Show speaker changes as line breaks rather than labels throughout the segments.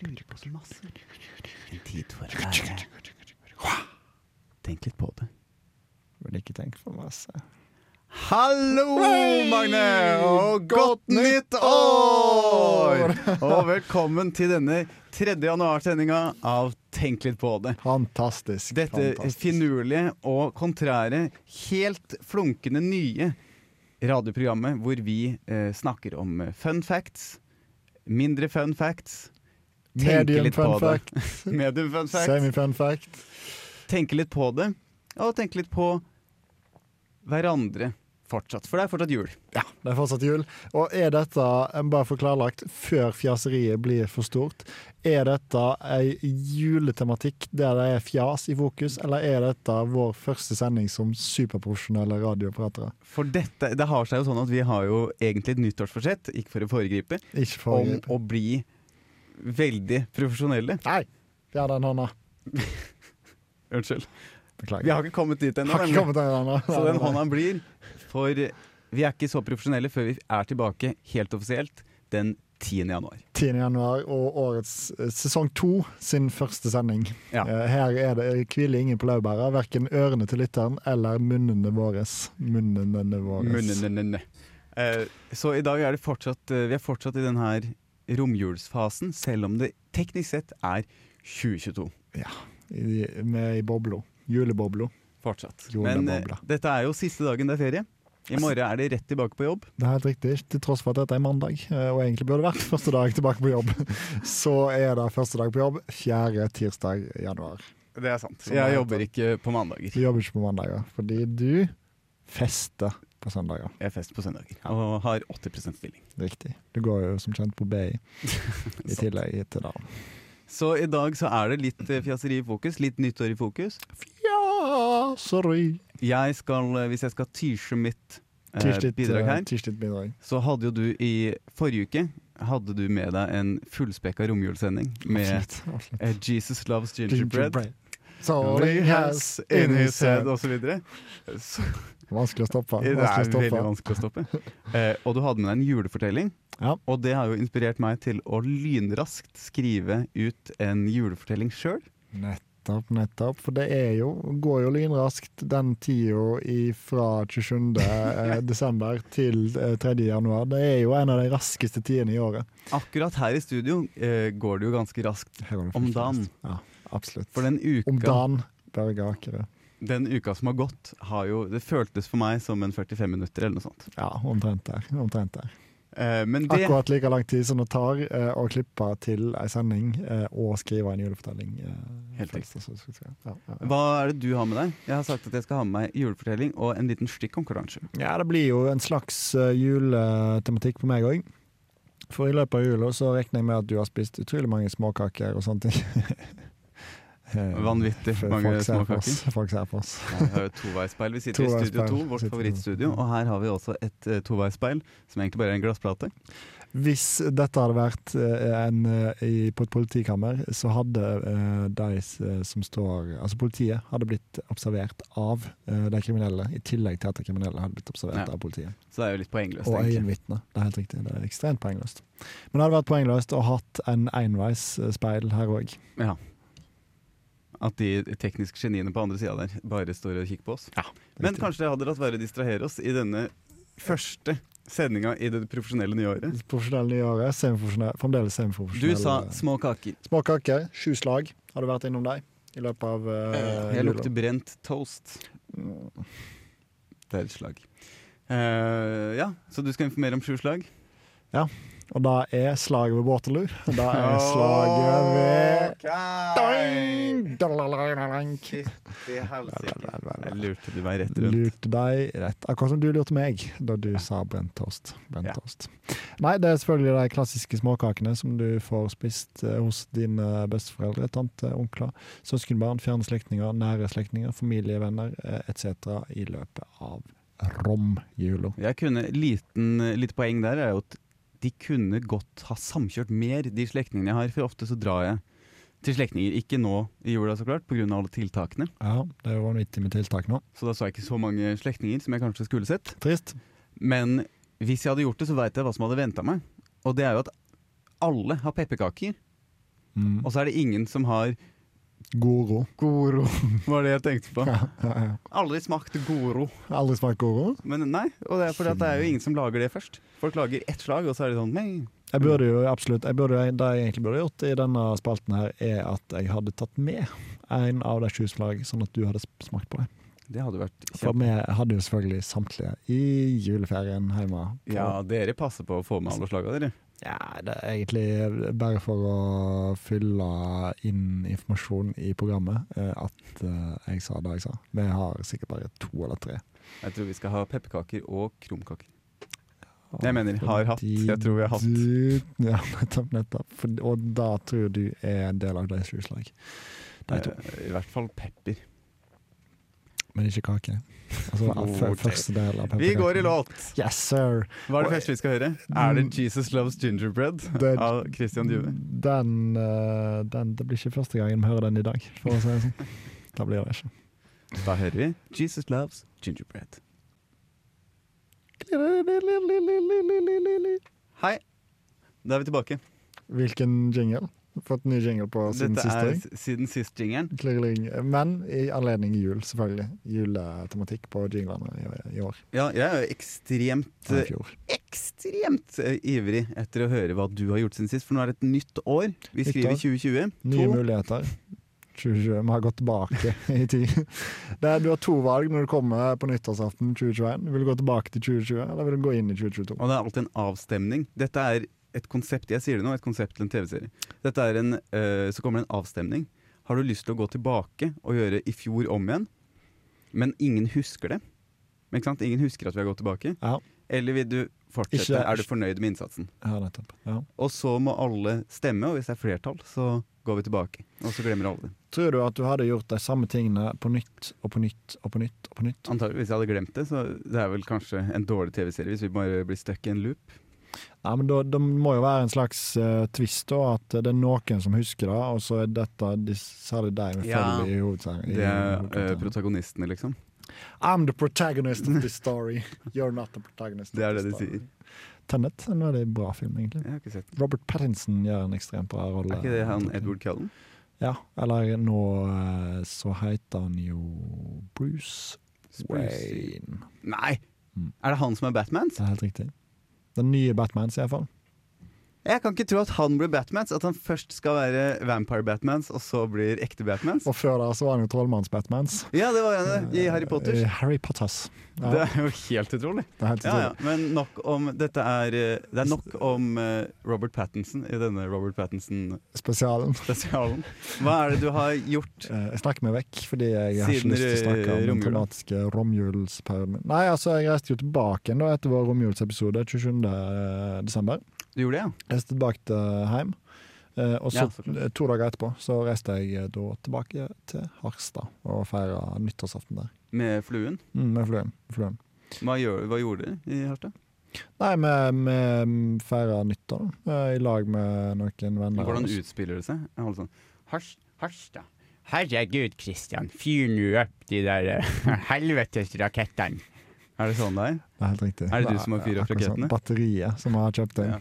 Mikkelmassen. En tid for ære. Tenk litt på det.
Burde ikke tenke for masse.
Hallo,
Hei!
Magne, og godt nytt år! Og velkommen til denne 3. januar-sendinga av Tenk litt på det.
Fantastisk.
Dette
fantastisk.
finurlige og kontrære, helt flunkende nye radioprogrammet hvor vi eh, snakker om eh, fun facts, mindre fun facts, tenker
Medium
litt
fun
på det.
fact,
medium fun facts,
semi-fun fact.
tenke litt på det, og tenke litt på hverandre fortsatt. For det er fortsatt jul.
Ja, det er fortsatt jul. Og er dette, jeg må bare få klarlagt, før fjaseriet blir for stort, er dette ei juletematikk der det er fjas i fokus, eller er dette vår første sending som superprofesjonelle radioperatere?
For dette, det har seg jo sånn at vi har jo egentlig et nyttårsforsett, ikke for å foregripe,
Ikke for
om å bli veldig profesjonelle.
Nei! Fjern den hånda.
Unnskyld. Vi
Beklager.
har ikke kommet dit ennå.
Har
nemlig.
ikke kommet den hånda.
Så den hånda blir For vi er ikke så profesjonelle før vi er tilbake helt offisielt den 10. januar.
10. januar og årets eh, sesong to sin første sending.
Ja.
Eh, Her er det hviler ingen på laurbæra, verken ørene til lytteren eller munnene våre. Munnene våre.
Munnenene. Eh, Så i dag er det fortsatt eh, Vi er fortsatt i den her romjulsfasen, selv om det teknisk sett er 2022.
I, med i bobla. Julebobla.
Fortsatt. Men eh,
Julebobla.
dette er jo siste dagen det er ferie. I morgen er det rett tilbake på jobb.
Det er helt riktig, til tross for at dette er mandag, eh, og egentlig burde det vært første dag tilbake på jobb. Så er det første dag på jobb fjerde tirsdag i januar.
Det er sant.
Sånn er
Jeg
det.
jobber ikke på mandager.
Vi jobber ikke på mandager, fordi du fester på søndager.
Jeg er fest på søndager og har 80 stilling.
Riktig. Du går jo som kjent på BI i
Sant.
tillegg til det.
Så i dag så er det litt eh, fjaseri i fokus, litt nyttår i fokus.
Ja, sorry.
Jeg skal, eh, hvis jeg skal tysje mitt eh,
Tirsdag
bidrag her,
bidrag.
så hadde jo du i forrige uke hadde du med deg en fullspekka romjulssending med
Absolutt, absolutt.
eh, Jesus Loves Gingerbread.
Sorry
Only
has
has in his head, og Så, videre. så
Vanskelig å stoppe.
det er
Vanskelig
veldig
å stoppe.
vanskelig å stoppe. Eh, og du hadde med deg en julefortelling,
Ja.
og det har jo inspirert meg til å lynraskt skrive ut en julefortelling sjøl.
Nettopp, nettopp. For det er jo, går jo lynraskt den tida fra 27. eh, desember til eh, 3. januar. Det er jo en av de raskeste tidene i året.
Akkurat her i studio eh, går det jo ganske raskt.
Her går det
Om
fort
dagen.
raskt. Ja, absolutt.
For den
Om
uka
dagen, Børge Akerø.
den uka som har gått, har jo Det føltes for meg som en 45 minutter eller noe sånt.
Ja, omtrent der. Omtrent der.
Eh, men det
Akkurat like lang tid som det tar eh, å klippe til ei sending eh, og skrive en julefortelling. Eh,
Helt riktig.
først, og så- så- så- Ja, ja, ja.
Hva er det du har med deg? Jeg har sagt at jeg skal ha med meg julefortelling og en liten stikkonkurranse.
ja, det blir jo en slags eh, juletematikk på meg òg. For i løpet av jula så regner jeg med at du har spist utrolig mange småkaker og sånne ting. Eh,
Vanvittig
for
mange
folk ser på
småkaker.
oss, Folk ser på oss.
Vi har jo et toveisspeil. Vi sitter i Studio
Toveisspeil.
2, vårt
Sitter-
favorittstudio. Og her har vi også et eh, toveisspeil, som egentlig bare er en glassplate.
Hvis dette hadde vært eh, en, eh, i, på et politikammer, så hadde eh, de s- som står Altså politiet hadde blitt observert av eh, de kriminelle, i tillegg til at de kriminelle hadde blitt observert
Ja.
av politiet.
Så det er jo litt poengløst,
Og
egentlig.
øyenvitne. Det er helt riktig. Det er ekstremt poengløst. Men det hadde vært poengløst å hatt en enveisspeil her òg.
Ja. At de tekniske geniene på andre sida der bare står og kikker på oss. Men kanskje det hadde latt være å distrahere oss i denne første sendinga i det profesjonelle nye året.
Profesjonelle i året, semiprofesjonelle, fremdeles
Du
semiprofesjonelle.
sa små kaker.
Små kaker, sju slag. Har du vært innom deg i løpet av eh,
Jeg
jula?
lukter brent toast. Det er et slag. Eh, ja, så du skal informere om sju slag?
Og da er slaget ved Waterloo. Da er slaget ved Doing! Dalalalang.
Jeg lurte du meg rett rundt.
Lurte deg rett. Akkurat som du lurte meg da du sa brent toast. Brent
Ja.
toast. Nei, det er selvfølgelig de klassiske småkakene som du får spist eh, hos dine besteforeldre, tante, onkler, søskenbarn, fjerne slektninger, nære slektninger, familievenner etc. i løpet av romjula.
Jeg kunne liten, Litt poeng der er jo at de kunne godt ha samkjørt mer, de slektningene jeg har. For ofte så drar jeg til slektninger. Ikke nå i jula, så klart, pga. alle tiltakene.
Ja, det er jo vanvittig med tiltak nå.
Så da så jeg ikke så mange slektninger som jeg kanskje skulle sett.
Trist.
Men hvis jeg hadde gjort det, så veit jeg hva som hadde venta meg. Og det er jo at alle har pepperkaker.
Mm.
Og så er det ingen som har
Goro.
Goro, var det jeg tenkte på.
Ja, ja, ja.
Aldri smakt Goro.
Aldri smakt goro?
Men nei, og det er fordi at det er jo ingen som lager det først. Folk lager ett slag, og så er det sånn nei.
Jeg burde jo absolutt, jeg burde, Det jeg egentlig burde gjort i denne spalten, her er at jeg hadde tatt med en av de sju slag, sånn at du hadde smakt på det.
Det hadde vært
For
kjempe...
vi hadde jo selvfølgelig samtlige i juleferien hjemme. på-
Ja, dere passer på å få med alle slaga, dere.
ja, det er egentlig bare for å fylle inn informasjon i programmet eh, at eh, jeg sa det jeg sa. Vi har sikkert bare to eller tre.
Jeg tror vi skal ha pepperkaker og krumkaker. Jeg mener har hatt. Jeg tror vi har hatt.
Du, ja, nettopp. nettopp. For, og da tror jeg du er en del av de sju slag. De to.
Eh, I hvert fall pepper.
Men ikke kake. Altså
Oh,
fø- første del av
Vi går i
pepperkakene.
låt!
Yes, sir!
Hva er det første vi skal høre?
Mm.
Er det 'Jesus Loves Gingerbread'
Det-
av Christian Djuve?
Den, eh, den, det blir ikke første gangen vi hører den i dag, for å si det sånn. Da blir det ikke.
Da hører vi 'Jesus Loves Gingerbread'. Hei! Da er vi tilbake.
Hvilken jingle? Fått ny jingle på siden
Dette
sist
er
dag.
s- siden sist jingeren.
Klirring. Men i anledning jul, selvfølgelig. Juletematikk på jinglene i, i år.
Ja, jeg er jo ekstremt,
Og I
eh,
fjor.
ekstremt eh, ivrig etter å høre hva du har gjort siden sist, for nå er det et nytt år. Vi
Nytt
skriver
år.
2020.
Nye
To.
muligheter. 2020. Vi har gått tilbake i tid. Det er, du har to valg når du kommer på nyttårsaften 2021. Vil du gå tilbake til 2020, eller vil du gå inn i 2022?
Og det er alltid en avstemning. Dette er et konsept jeg sier det nå, et konsept til en TV-serie. Dette er en, eh, Så kommer det en avstemning. Har du lyst til å gå tilbake og gjøre i fjor om igjen, men ingen husker det? Men Ikke sant? Ingen husker at vi har gått tilbake.
Ja.
Eller vil du fortsette?
Ikke-
Er du fornøyd med innsatsen?
Ja, nettopp. Ja.
Og så må alle stemme, og hvis det er flertall, så går vi tilbake. Og så glemmer alle det.
Tror du at du hadde gjort de samme tingene på nytt og på nytt og på nytt? og på nytt?
Antagelig, hvis jeg hadde glemt det, så det er vel kanskje en dårlig TV-serie hvis vi bare blir stuck i en loop.
Nei, men da, Det må jo være en slags eh, twist, da, at det er noen som husker det, og så er dette de, særlig de vi
Ja.
følger i hovedserien. i
Det er eh,
hovedkarakteren.
protagonistene, liksom.
I'm the protagonist of this story. You're not the protagonist. of
Det er
this
det de
story.
sier.
Tenet er en veldig bra film, egentlig.
Jeg har ikke sett den.
Robert Pattinson gjør en ekstremt bra rolle.
Er ikke det han Edward Cullen?
Ja, eller nå eh, så heter han jo Bruce
Spruce.
Wayne.
Nei!
Mm.
Er det han som er Batman?
Det er helt riktig. Den nye Batmans, iallfall.
Jeg kan ikke tro at han blir Batman. At han først skal være Vampire Batmans, og så blir ekte Batmans.
Og før der så var han jo trollmanns-Batmans.
Ja, det var han det, i Harry Potter.
Eh, Harry Potters. Ja,
Det er jo helt utrolig.
det er helt
Ja, ja.
utrolig.
Men nok om dette er eh, Det er nok om eh, Robert Pattinson i denne Robert Pattinson-spesialen.
Spesialen.
Hva er det du har gjort?
Eh, Jeg snakker meg vekk, fordi jeg har ikke
Siden
lyst til å snakke om den
romjula.
dramatiske romjulsperioden min. Nei, altså, jeg reiste jo tilbake igjen da etter vår romjulsepisode 27. desember.
Du gjorde det, ja?
Jeg reiste tilbake til hjem. Eh, Og så
Ja, så klart.
eh, to dager etterpå så reiste jeg eh, da tilbake til Harstad og feira nyttårsaften der.
Med fluen?
Mm, med fluen. fluen.
Hva, gjør, hva gjorde dere i Harstad?
Nei, vi vi feira nyttår da, eh, i lag med noen venner. av
Hvordan
oss.
utspiller det seg? Jeg holder sånn Hars, Harstad.
Herregud, Kristian, fyr nå opp de der eh, helvetes rakettene.
Er det sånn det er?
Det er helt riktig.
Er det du
Nei,
som har fyrt opp
akkurat
rakettene?
sånn. Batteriet som jeg har kjøpt inn.
Ja.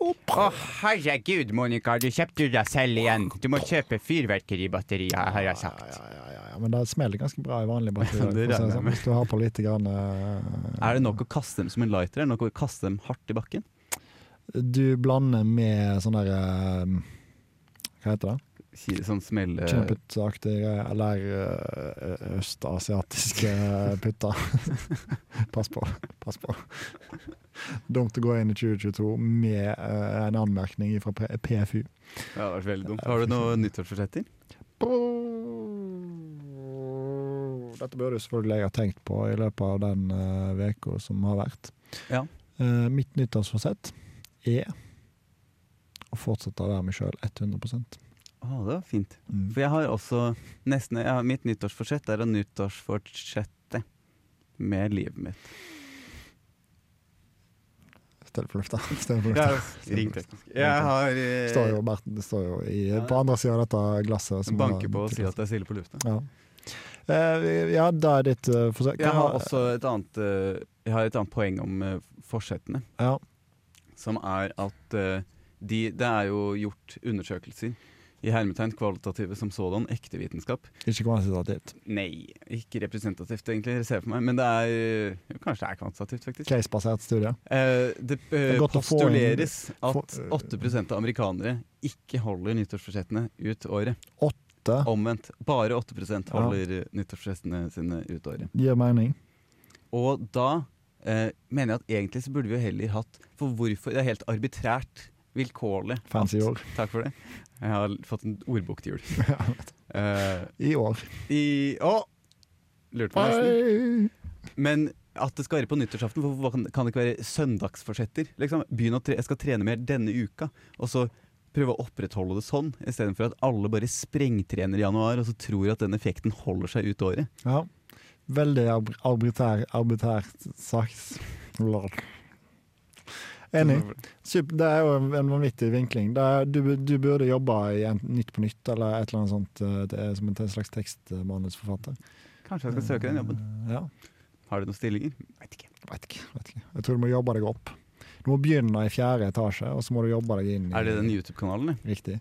Å, herregud, Monica, du kjøpte deg selv igjen. Du må kjøpe fyrverkeribatterier, har jeg sagt.
Ja, ja, ja, ja, Men det smeller ganske bra i vanlige
Det
batterier. for å si
regner
det
jeg
sånn.
med.
Hvis du har på lite grann eh,
Er det nok å kaste dem som en lighter? Er det nok å kaste dem hardt i bakken?
Du blander med sånn der eh, Hva heter det?
Ki- Sånn smelle
Chinaput-aktig greie. Eller eh, østasiatiske putter. pass på. Pass på. Dumt å gå inn i 2022 med eh, en anmerkning fra PFU.
Det har vært veldig dumt. Har du noe nyttårsforsetter?
Dette burde jo selvfølgelig jeg ha tenkt på i løpet av den uka som har vært.
Ja.
Eh, mitt nyttårsforsett er å fortsette å være meg sjøl 100 Mm.
Å, det var fint. For jeg har også nesten jeg har, Mitt nyttårsforsett er å nyttårsfortsette med livet mitt.
Stell på lufta. Stell på
Jeg
lufta.
har ringt teknisk. Jeg har
Det står
eh,
jo, Bert, det står jo i,
Ja.
på andre sida av dette glasset. som
banker
har-
på og sier at jeg stiller på lufta.
Ja, Eh, ja da er ditt eh, forsett.
Jeg har også et annet, eh, jeg har et annet poeng om eh, forsettene,
ja.
som er at eh, de, det er jo gjort undersøkelser, i hermetegn kvalitative som sådan, ekte vitenskap.
Ikke kvantitativt.
Nei, ikke representativt, egentlig, ser jeg for meg, men det er jo, Kanskje det er kvantitativt, faktisk.
Casebasert studie.
Eh, det
er
eh,
godt å få inn-
postuleres at
få- eh,
8 av amerikanere ikke holder nyttårsforsettene ut året.
Det
Omvendt. Bare 8 holder eh, nyttårsforsettene sine ut året.
gir mening.
Og da eh, mener jeg at egentlig så burde vi jo heller hatt For hvorfor Det er helt arbitrært vilkårlig.
Fancy
at-
ord.
Takk for det. Jeg har fått en ordbok til jul. Eh,
I år.
I Å! Lurte meg nesten.
Hei!
Men at det skal være på nyttårsaften, hvorfor kan, kan det ikke være søndagsforsetter? Liksom, begynn å tre, jeg skal trene mer denne uka, og så prøve å opprettholde det sånn, istedenfor at alle bare sprengtrener i januar, og så tror at den effekten holder seg ut året.
Ja. Veldig arb arbitær, arbitært sagt. Lol. Enig. Super, det er jo en en vanvittig vinkling. Det er, du, bu- du burde jobbe i enten Nytt på nytt eller et eller annet sånt eh, det er som en slags tekstmanusforfatter.
Kanskje jeg skal søke den jobben.
Eh, Ja.
Har du noen stillinger? Veit ikke.
Vet ikke, vet ikke. Jeg tror du må jobbe deg opp. Du må begynne i fjerde etasje, og så må du jobbe deg inn i
Er det den YouTube-kanalen? det?
Riktig.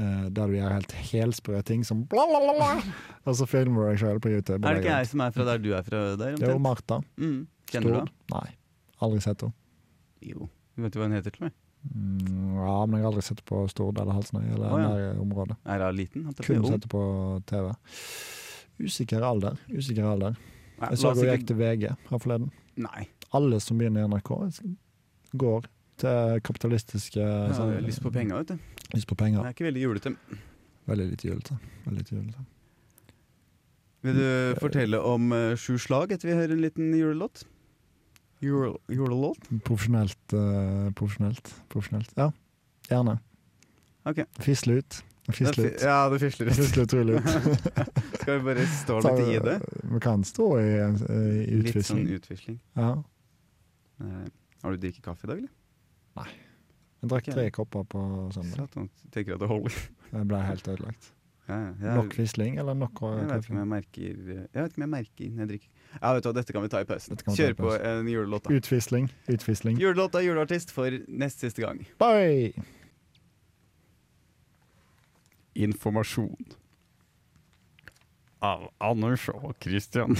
Eh, der du gjør helt helsprø ting som bla, bla, bla, bla. Og så filmer du deg sjøl på YouTube. og
Er det
legger
ikke
ut.
jeg som er fra der du er fra der?
Det er jo
omtrent?
Martha.
Mm. Kjenner du henne?
Nei. Aldri sett henne.
Jo. Vet du hva hun heter til meg?
Mm, ja, men jeg har aldri sett henne på Stord eller Halsnøy eller
Å, ja.
det området.
Er hun liten? Holdt jeg på å si.
Kun sånn.
Ung.
sett henne på TV. Usikker alder. Usikker alder.
Nei,
Jeg
la
så
oss
hun
ikke-
gikk til VG her forleden.
Nei.
Alle som begynner i NRK, går til kapitalistiske sånn,
Jeg har lyst på penger, vet du.
Lyst på
Jeg
penger.
er ikke veldig julete.
Veldig litt julete. Veldig lite julete.
Vil du fortelle om eh, sju slag etter vi hører en liten julelåt? Jule- Julelåt?
Profesjonelt, eh, profesjonelt, profesjonelt. Ja, gjerne.
Ok.
Fisle ut. Fisle ut.
Ja, det fisler ut.
Fisle utrolig ut.
Skal vi bare stå
Ta-
litt i det?
Vi kan stå i, eh, i
Litt sånn
utvisning.
utvisling.
Ja.
Eh, Har du drikket kaffe i dag, eller?
Jeg drakk
Ok.
tre kopper på søndag.
Satan, tenker at det holder.
Jeg ble helt ødelagt.
Ja, ja.
Nok fisling eller nok
Jeg vet ikke om
kaffe?
jeg merker eh, Jeg vet ikke om jeg merker når jeg drikker Ja, vet du hva, Dette kan vi ta i pausen.
Dette kan vi ta i
Kjør på en julelåt, da.
Utfisling. Utfisling.
Julelåt av juleartist for nest siste gang.
Bye!
Informasjon. Av Anders og Christian.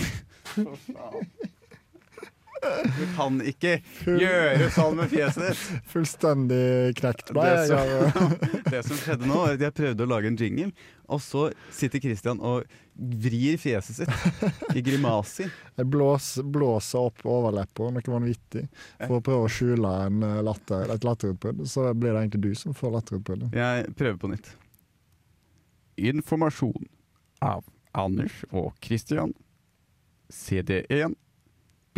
Du kan ikke gjøre sånn med fjeset ditt!
Fullstendig knekt. Nei,
Det
jeg,
så-
har-
Det som skjedde nå, var at jeg prøvde å lage en jingle, og så sitter Christian og vrir fjeset sitt i grimaser.
jeg blåser, blåser opp overleppa, noe vanvittig, for å prøve å skjule en eh, latter, et latterutbrudd. Så blir det egentlig du som får latterutbruddet.
Jeg prøver på nytt. Informasjon av Anders og Christian. CD1,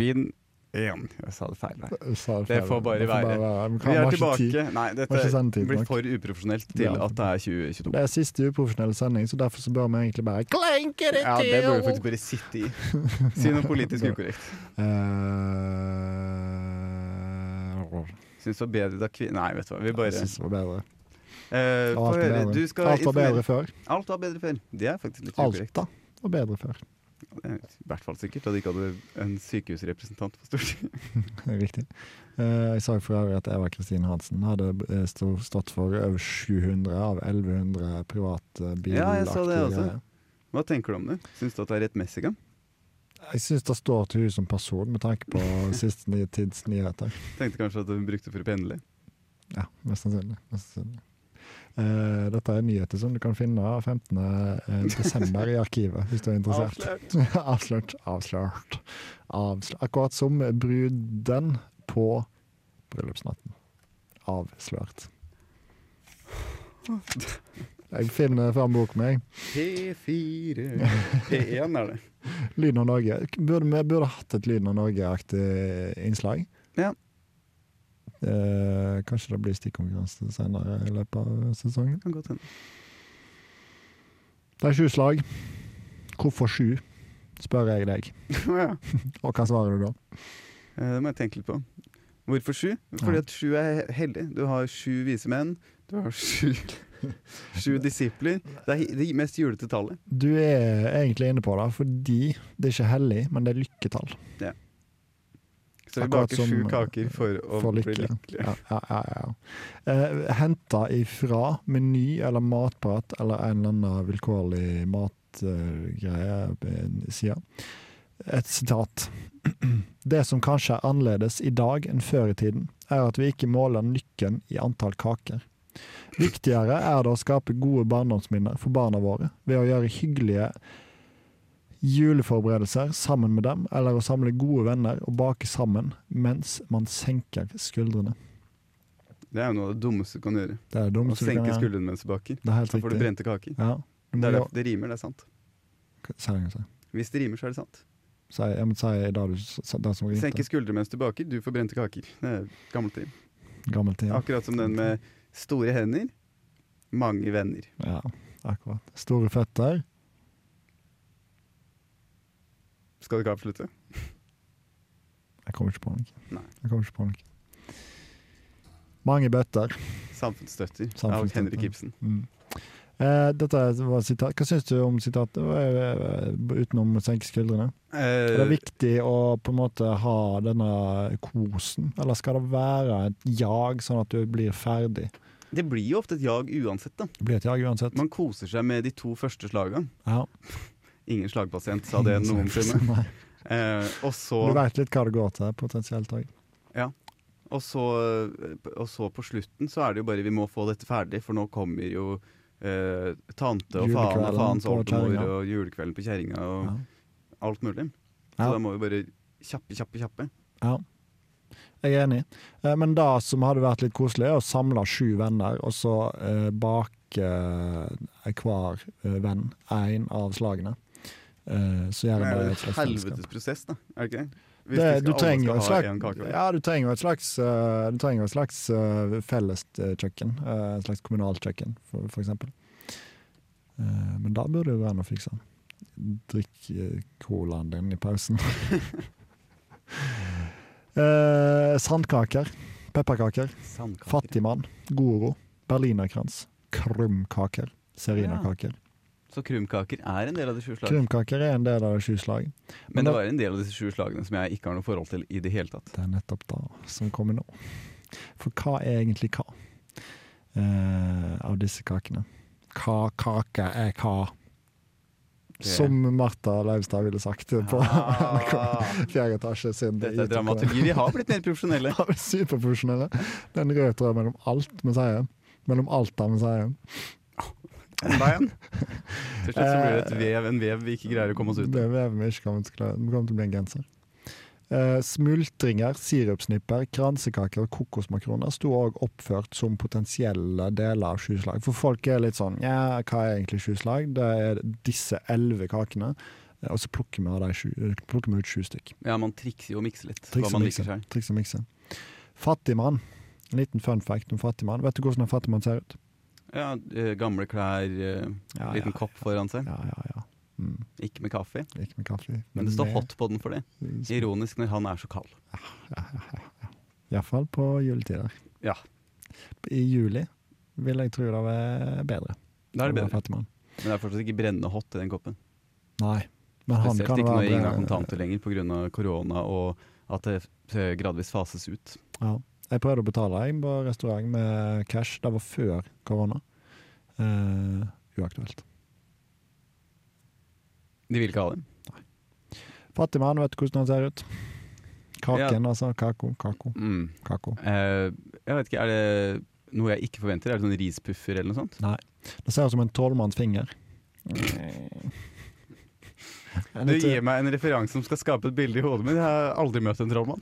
bind 1. Jeg sa det feil her.
Jeg sa
Det
feil.
får bare
Det får
være.
Vi kan-
Vi er
har ikke tid.
tilbake. Nei,
Har ikke
dette
sendetid
blir
nok.
for uprofesjonelt til
Ja.
at det er 2022.
Det er siste uprofesjonelle sending, så derfor så bør vi egentlig bare klenke det
Ja, det burde vi
til!
faktisk bare sitte i. Si noe politisk ukorrekt.
Eh,
Syns det var bedre da kvinner Nei, vet du hva. Vi
Jeg
bare
synes det var bedre.
eh, Få
Alt var
høre. Du
bedre.
skal
Alt var bedre
informere.
før.
Alt var bedre før. Det er faktisk litt ukorrekt.
Alta var bedre før.
Det er I hvert fall sikkert da de ikke hadde en sykehusrepresentant på Stortinget.
Riktig. Eh, Jeg sa for øvrig at Eva Kristin Hansen hadde eh, stå- stått for over 700 av 1100 privatbilaktige
Ja, jeg så det også. Hva tenker du om det? Syns du at det er rettmessig? gang?
Jeg syns det står til hun som person, med tanke på siste ny- tids nyheter.
Tenkte kanskje at hun brukte for å pendle.
Ja, mest sannsynlig. Mest sannsynlig. Eh, dette er nyheter som du kan finne 15. eh, desember i arkivet, hvis du er interessert. Avslørt. Avslørt. Avslørt. Akkurat som bruden på bryllupsnatten. Avslørt. Jeg finner fram boken min.
P4 P1 er det.
Lyden av Norge. Burde, vi burde hatt et Lyden av Norge-aktig innslag.
Ja.
Eh, kanskje det blir stikkonkurranse senere i løpet av sesongen.
Kan godt hende.
Det er sju slag. Hvorfor sju, spør jeg deg.
Å ja.
Og hva svarer du da?
Eh, Det må jeg tenke litt på. Hvorfor sju? Fordi
Ja.
at sju er he- heldig. Du har sju vise menn. Du har sju, sju disipler. Det er hi- det mest julete tallet.
Du er egentlig inne på det, fordi det er ikke hellig, men det er lykketall.
Så vi
Akkurat
baker
som,
sju
eh,
kaker for å
for
bli
lykke.
lykkelig.
Ja, ja, ja, ja. Eh, henta ifra Meny eller Matprat eller en eller annen vilkårlig matgreie uh, side. Et sitat. Det som kanskje er annerledes i dag enn før i tiden, er at vi ikke måler lykken i antall kaker. Viktigere er det å skape gode barndomsminner for barna våre ved å gjøre hyggelige juleforberedelser sammen med dem, eller å samle gode venner og bake sammen mens man senker skuldrene.
Det er jo noe av det dummeste du kan gjøre.
Det er
Å
dumt. så du kan
senke
gjøre-
skuldrene mens du baker.
Det er helt
Da får du
riktig.
brente kaker.
Ja. Du
Det
må
er
jo-
derfor det rimer, det er sant.
Si det en gang til.
Hvis det rimer, så er det sant.
Si, jeg må si det du sa- det som var
Senke
riktig.
skuldre mens du baker, du får brente kaker. Det er gammelt rim.
Gammel tid.
Akkurat som den med store hender, mange venner.
Ja, akkurat. Store føtter.
Skal du ikke avslutte?
Jeg kommer ikke på noe.
Nei.
Jeg kommer ikke på noe. Mange bøtter.
Samfunnsstøtter av
Samfunnsstøtter.
Henrik Ibsen.
Mm. Eh, dette var et sitat. Hva syns du om sitatet, eh, utenom å senke skuldrene? Er det
Eh,
viktig å på en måte ha denne kosen, eller skal det være et jag, sånn at du blir ferdig?
det blir jo ofte et jag uansett, da.
Det blir et jag uansett.
Man koser seg med de to første slaga.
Ja.
Ingen slagpasient sa det noensinne.
Nei.
Eh, og så
Du veit litt hva det går til, potensielt òg.
Og så, eh, og så på slutten så er det jo bare vi må få dette ferdig, for nå kommer jo eh, tante og faen og
Julekvelden
faens
på
oldemor
kjerringa.
og julekvelden på kjerringa og
Ja.
alt mulig. Så
Ja.
da må vi bare kjappe, kjappe, kjappe.
Jeg er enig. Eh, Men det som hadde vært litt koselig, er å samle sju venner, og så eh, bake eh, hver eh, venn én av slagene. Eh, så
Det
gjør
er jo
en det i et
en
slags fellesskap.
helvetes prosess, da. Er det ikke det? Hvis
Det,
vi skal-
du
alle
trenger jo
skal
et
ha
slags,
en kake hver.
ja, du trenger jo et slags, eh, du trenger jo et slags eh, felles eh, kjøkken. eh, Et slags kommunalt kjøkken, for, for eksempel. Eh, men da burde det gå an å fikse. Drikk eh, colaen din i pausen. Eh, sandkaker. Pepperkaker.
Sandkaker.
Fattigmann. Goro. Berlinerkrans. Krumkaker. Serinakaker.
Så krumkaker er en del av de sju slagene.
Krumkaker er en del av det sju slag.
Men
Men
det
da-
var en del av disse sju slagene som jeg ikke har noe forhold til i det hele tatt.
Det er nettopp det som kommer nå. For hva er egentlig hva eh, av disse kakene? Hva kake er hva? Som Martha Leivstad ville sagt på
Ah.
fjerde etasje sin
Dette er
YouTube-kanal.
dramaturgi. Vi har blitt mer profesjonelle.
Ja, vi er Superprofesjonelle. Det er en rød tråd mellom alt vi sier. Mellom alt det vi sier.
Enda en. Til slutt så blir det et vev, en vev vi ikke greier å komme oss ut av.
Det vever vi ikke kommer til, å klare. Vi kommer til å bli en genser. Eh, smultringer, sirupsnipper, kransekaker og kokosmakroner sto òg oppført som potensielle deler av sju slag. For folk er litt sånn Ja, hva er egentlig sju slag? Det er disse elleve kakene. eh, Og så plukker vi, av de sju, eh, plukker vi ut sju stykk.
Ja, man trikser jo og mikser litt.
Triks
hva
og
man
mikse.
liker seg.
Triks og mikse. Fattigmann. En liten fun fact om fattigmann. Vet du hvordan en fattigmann ser ut?
Ja, eh, gamle klær, eh,
Ja,
liten
ja,
kopp foran seg.
ja, ja, ja. Mm,
Ikke med kaffe,
ikke med kaffe.
men det står
med-
hot på den for det. Ironisk når han er så kald.
Iallfall på juletider.
Ja.
I juli vil jeg tro det var bedre.
Da er det
å være
bedre.
fattigmann.
Men det er fortsatt ikke brennende hot i den koppen.
Nei. Men han
Spesielt
kan
ikke når
være
ingen har kontanter lenger pga. korona og at det eh, gradvis fases ut.
Ja. Jeg prøvde å betale jeg på restaurant med cash. Det var før korona. Eh, uaktuelt.
De vil ikke ha det.
Fattigmann, vet du hvordan han ser ut? Kaken, altså. Kako, kako,
Mm.
kako.
Eh, jeg vet ikke, er det noe jeg ikke forventer? Er det sånn rispuffer eller noe sånt?
Det ser ut som en tolvmanns finger.
Du gir meg en referanse som skal skape et bilde i hodet mitt. Jeg har aldri møtt en trollmann.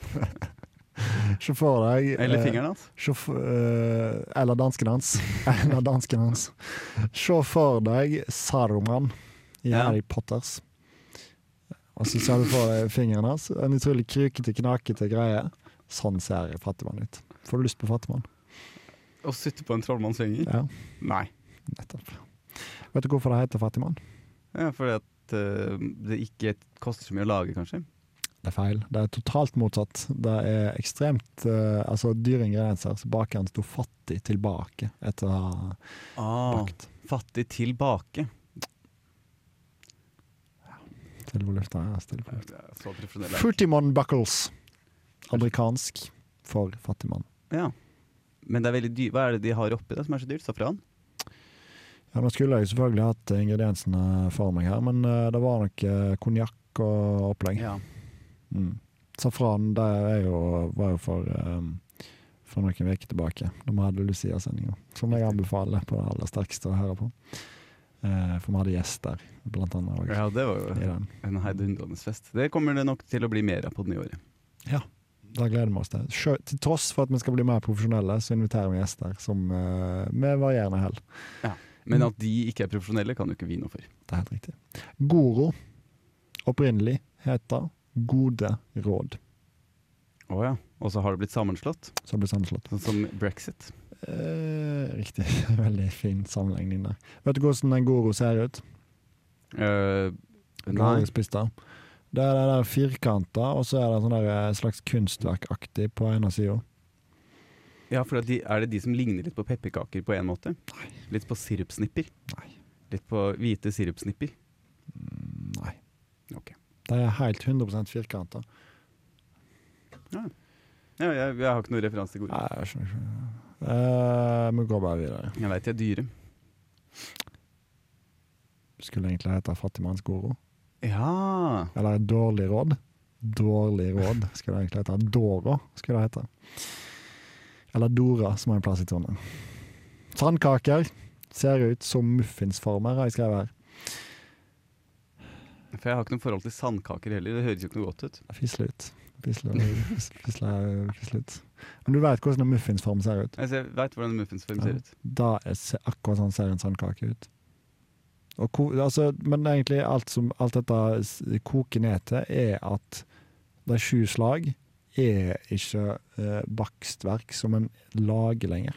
Se for deg
Eller
eh,
fingeren hans.
Se f- eh, eller dansken hans. Eller dansken hans. Se for deg Saruman i
Ja.
Harry Potters. Og så ser du for deg fingeren hans. En utrolig krykete, knakete greie. Sånn ser fattigmann ut. Får du lyst på fattigmann?
Å sutte på en trollmanns finger?
Ja,
Nei.
nettopp. Vet du hvorfor det heter fattigmann?
Ja, fordi at eh, det ikke koster så mye å lage, kanskje.
Det er feil. Det er totalt motsatt. Det er ekstremt eh, Altså, dyre ingredienser. Så bakeren sto fattig tilbake etter å ha
Ah.
bakt.
Fattig tilbake.
Stille på lufta. Ja, stille på lufta.
Så profesjonell er jeg ikke.
Fruity Mon Buckles. Amerikansk for fattigmann.
Ja. Men det er veldig dy hva er det de har oppi det som er så dyrt? Safran?
Ja, nå skulle jeg selvfølgelig hatt ingrediensene for meg her, men eh, det var nok eh, konjakk og opplegg.
Ja.
Mm. Safran det er jo, var jo for, eh, for noen uker tilbake, da vi hadde Lucia-sendinga. Som jeg anbefaler på det aller sterkeste å høre på. Eh, for vi hadde gjest der, blant annet. Og,
ja, det var
i
jo
den.
en heidundrende fest. Det kommer det nok til å bli mer av på det nye året.
Det gleder vi oss til. Sjø, til tross for at vi skal bli mer profesjonelle, så inviterer vi gjester som eh, med varierende hell.
Men at de ikke er profesjonelle, kan jo ikke vi noe for.
Det er helt riktig. Goro opprinnelig heter Gode råd,
Å ja. Og så har det blitt sammenslått,
som ble sammenslått.
sånn som brexit.
Eh, riktig. Veldig fin sammenligning der. Vet du hvordan en Goro ser ut?
Eh, nei.
Nei. Det er det der firkanta, og så er det sånn der, eh, slags kunstverkaktig på ene sida.
Ja, for at de, er det de som ligner litt på pepperkaker på en måte? Litt på sirupsnipper?
Nei.
Litt på hvite sirupsnipper?
Mm, Nei.
Ok.
De er helt 100 firkanta.
Ja, jeg, jeg har ikke noen referanse til gode.
Nei, jeg skjønner ikke. Eh, Vi går bare videre.
Jeg veit de er dyre.
Skulle egentlig hete Fattigmannsgoro.
Ja!
Eller Dårlig råd. Dårlig råd skulle det egentlig hete. Dora skulle det hete. Eller Dora, som er en plass i Trondheim. Sandkaker ser ut som muffinsformer, har jeg skrevet her.
For jeg har ikke noe forhold til sandkaker heller. Det høres jo ikke noe godt ut.
Fisle ut. Fisle, fisle, fisle, fisle ut. Men du vet hvordan en muffinsform ser ut.
Altså, jeg veit hvordan en muffinsform
Ja.
ser ut.
Da er se- akkurat sånn ser en sandkake ut. Og ko, altså, men egentlig alt som alt dette s- koker ned til, er at de sju slag er ikke eh, bakstverk som en lager lenger.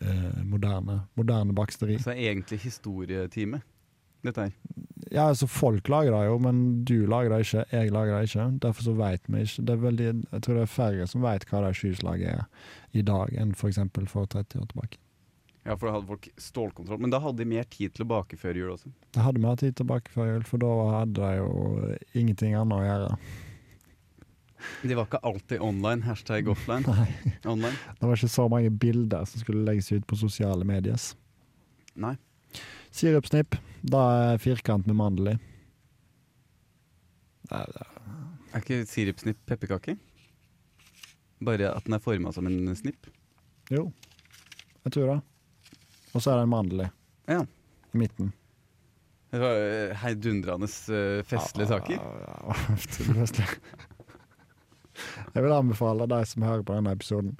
Eh, moderne, moderne baksteri.
Så det er egentlig historietime, dette her.
Ja, altså Folk lager det jo, men du lager det ikke. Jeg lager det ikke. Derfor så vet vi ikke. Det er veldig, jeg tror det er færre som vet hva det skyslaget er i dag, enn f.eks. for, for 30 år tilbake.
Ja, for da hadde folk stålkontroll. Men da hadde de mer tid til å bake før jul også.
Det hadde vi hatt tid tilbake før jul, for da hadde de jo ingenting annet å gjøre.
De var ikke alltid online. Hashtag offline.
Nei,
Online.
Det var ikke så mange bilder som skulle legges ut på sosiale medier.
Nei.
Sirupsnipp. Da er firkant med mandel i. Nei, det er-
Er ikke sirupsnipp pepperkake? Bare at den er forma som en snipp?
Jo, jeg tror det. Og så er det en mandel i.
Ja.
I midten.
Det var eh, heidundrende eh, festlige
Ah,
saker.
Ja, ja, utrolig festlig. Jeg vil anbefale de som hører på denne episoden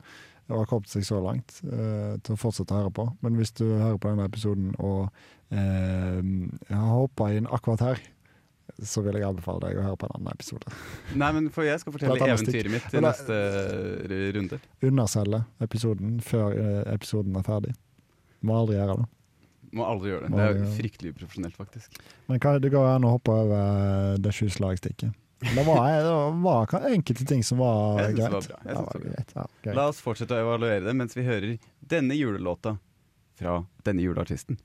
og har kommet seg så langt, eh, til å fortsette å høre på. Men hvis du hører på denne episoden og eh, har hoppa inn akkurat her, så vil jeg anbefale deg å høre på en annen episode.
Nei, men for jeg skal
Det
fortelle
er et annet
eventyret mitt i
Men da-
neste eh, runde.
Underselge episoden før eh, episoden er ferdig. Må aldri gjøre det.
Må aldri gjøre det.
Må
Det er
aldri
jo
gjøre det.
fryktelig uprofesjonelt, faktisk.
Men hva, det går an å hoppe over eh, det sju slagstikket. Det var, det var enkelte ting som var
Jeg synes det var bra.
greit.
Jeg synes det var
greit. Ja, greit.
La oss fortsette å evaluere det mens vi hører denne julelåta fra denne juleartisten.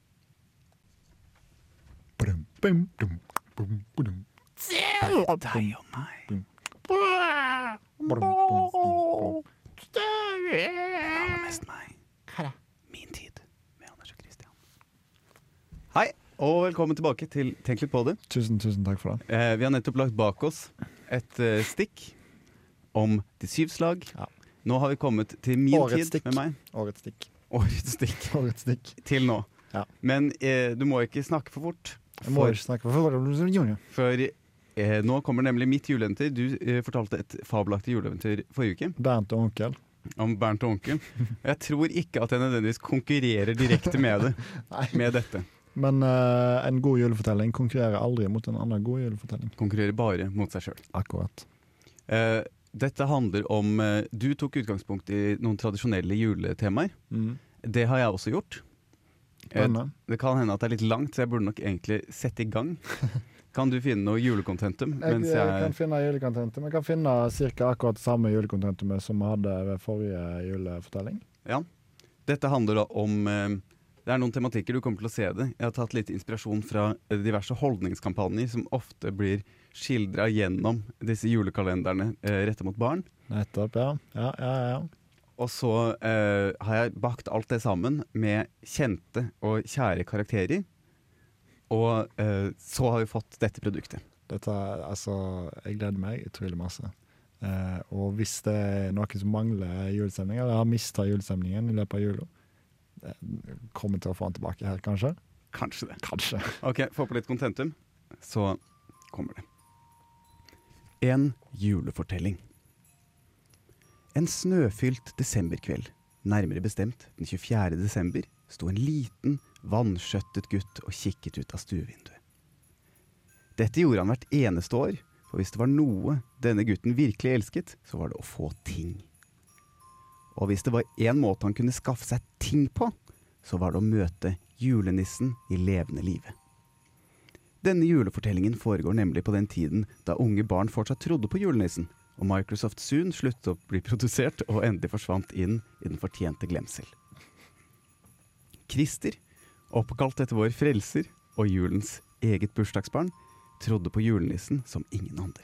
Brum, bum, dum, bum, bum.
Deg og meg. Mm.
Brum, bum, bum,
Aller mest meg. Min tid med Anders og Christian. Hei, og velkommen tilbake til Tenk litt på det.
bum. Tusen, tusen takk for det.
Eh, vi har nettopp lagt bak oss et eh, stikk om de syv slag.
Ja.
Nå har vi kommet til min
Årets
tid
stikk.
med meg.
Årets stikk.
Årets stikk.
Årets stikk.
Til nå.
Ja.
Men eh, du må ikke snakke for fort.
Jeg må
For-
ikke snakke for Junior.
For eh, nå kommer nemlig mitt juleeventyr. Du eh, fortalte et fabelaktig juleeventyr forrige uke
Bernt og onkel.
om Bernt og onkel. Og Jeg tror ikke at jeg nødvendigvis konkurrerer direkte med det.
Nei.
Med dette.
Men eh, en god julefortelling konkurrerer aldri mot en annen god julefortelling.
Konkurrerer bare mot seg sjøl.
Akkurat.
Eh, dette handler om eh, Du tok utgangspunkt i noen tradisjonelle juletemaer.
Mm.
Det har jeg også gjort. Eh,
Spennende.
det kan hende at det er litt langt, så jeg burde nok egentlig sette i gang. Kan du finne noe julekontentum?
Jeg,
Mens
jeg
jeg
kan finne julekontentum. Jeg kan finne cirka akkurat det samme julekontentumet som vi hadde ved forrige julefortelling.
Ja. Dette handler da om eh, Det er noen tematikker du kommer til å se det. Jeg har tatt litt inspirasjon fra eh, diverse holdningskampanjer som ofte blir skildra gjennom disse julekalenderne eh, retta mot barn.
Nettopp, ja. Ja, ja, ja.
Og så eh, har jeg bakt alt det sammen med kjente og kjære karakterer. Og eh, så har vi fått dette produktet.
Dette, er- altså, jeg gleder meg utrolig masse. Eh, og hvis det er noen som mangler julestemning, eller har mista julestemningen i løpet av jula, eh, kommer til å få den tilbake her, kanskje?
Kanskje det.
Kanskje.
Ok, Få på litt kontentum, så kommer det. En julefortelling. En snøfylt desemberkveld, nærmere bestemt den 24. desember, sto en liten, vanskjøttet gutt og kikket ut av stuevinduet. Dette gjorde han hvert eneste år, for hvis det var noe denne gutten virkelig elsket, så var det å få ting. Og hvis det var én måte han kunne skaffe seg ting på, så var det å møte julenissen i levende live. Denne julefortellingen foregår nemlig på den tiden da unge barn fortsatt trodde på julenissen, og Microsoft Zoom sluttet å bli produsert og endelig forsvant inn i den fortjente glemsel. Christer, oppkalt etter vår frelser og julens eget bursdagsbarn, trodde på julenissen som ingen andre.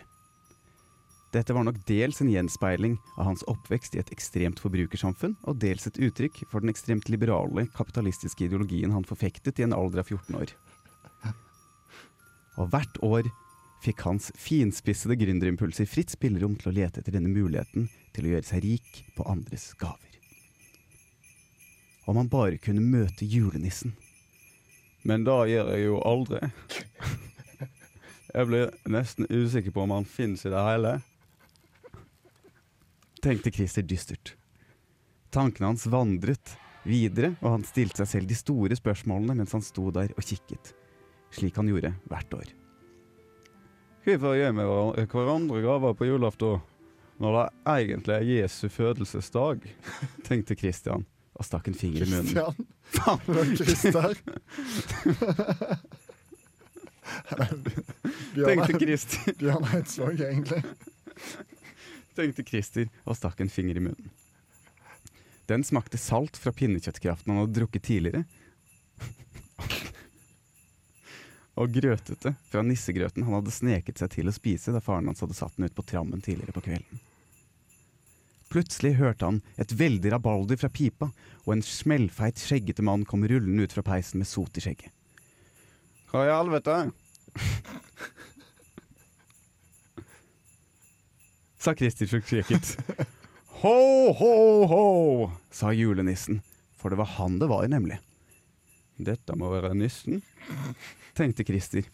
Dette var nok dels en gjenspeiling av hans oppvekst i et ekstremt forbrukersamfunn, og dels et uttrykk for den ekstremt liberale, kapitalistiske ideologien han forfektet i en alder av 14 år. Og hvert år fikk hans finspissede gründerimpulser fritt spillerom til å lete etter denne muligheten til å gjøre seg rik på andres gaver. Om han bare kunne møte julenissen. Men da gjør jeg jo aldri. Jeg blir nesten usikker på om han finnes i det hele. Tenkte Christer dystert. Tankene hans vandret videre, og han stilte seg selv de store spørsmålene mens han sto der og kikket, slik han gjorde hvert år. Hvorfor gir vi hverandre gaver på julaften når det egentlig er Jesu fødelsesdag? Tenkte Christian og stakk en finger i munnen.
Kristian.
Faen!
Det var Christer.
Tenkte
Bjørn,
Christian.
Bjørn Eidsvåg, egentlig.
tenkte Christer og stakk en finger i munnen. Den smakte salt fra pinnekjøttkraften han hadde drukket tidligere. og grøtete fra nissegrøten han hadde sneket seg til å spise da faren hans hadde satt den ut på trammen tidligere på kvelden. Plutselig hørte han et veldig rabalder fra pipa, og en smellfeit, skjeggete mann kom rullende ut fra peisen med sot i skjegget. Hva i helvete? sa Christer forskrekket. Ho, ho, ho, sa julenissen, for det var han det var, nemlig. Dette må være nissen, tenkte Christer.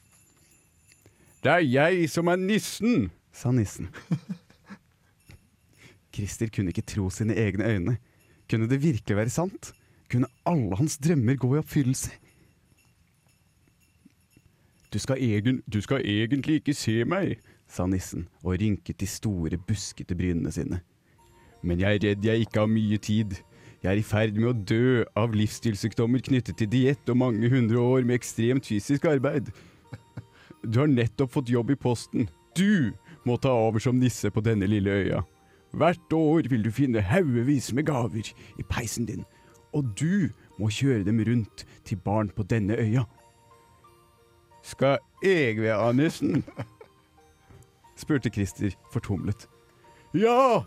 Det er jeg som er nissen, sa nissen. Christer kunne ikke tro sine egne øyne. Kunne det virkelig være sant? Kunne alle hans drømmer gå i oppfyllelse? Du skal, egen, du skal egentlig ikke se meg, sa nissen og rynket de store, buskete brynene sine. Men jeg er redd jeg ikke har mye tid. Jeg er i ferd med å dø av livsstilssykdommer knyttet til diett og mange hundre år med ekstremt fysisk arbeid. Du har nettopp fått jobb i Posten. Du må ta over som nisse på denne lille øya. Hvert år vil du finne haugevis med gaver i peisen din, og du må kjøre dem rundt til barn på denne øya. Skal jeg være nissen? spurte Christer fortumlet. Ja,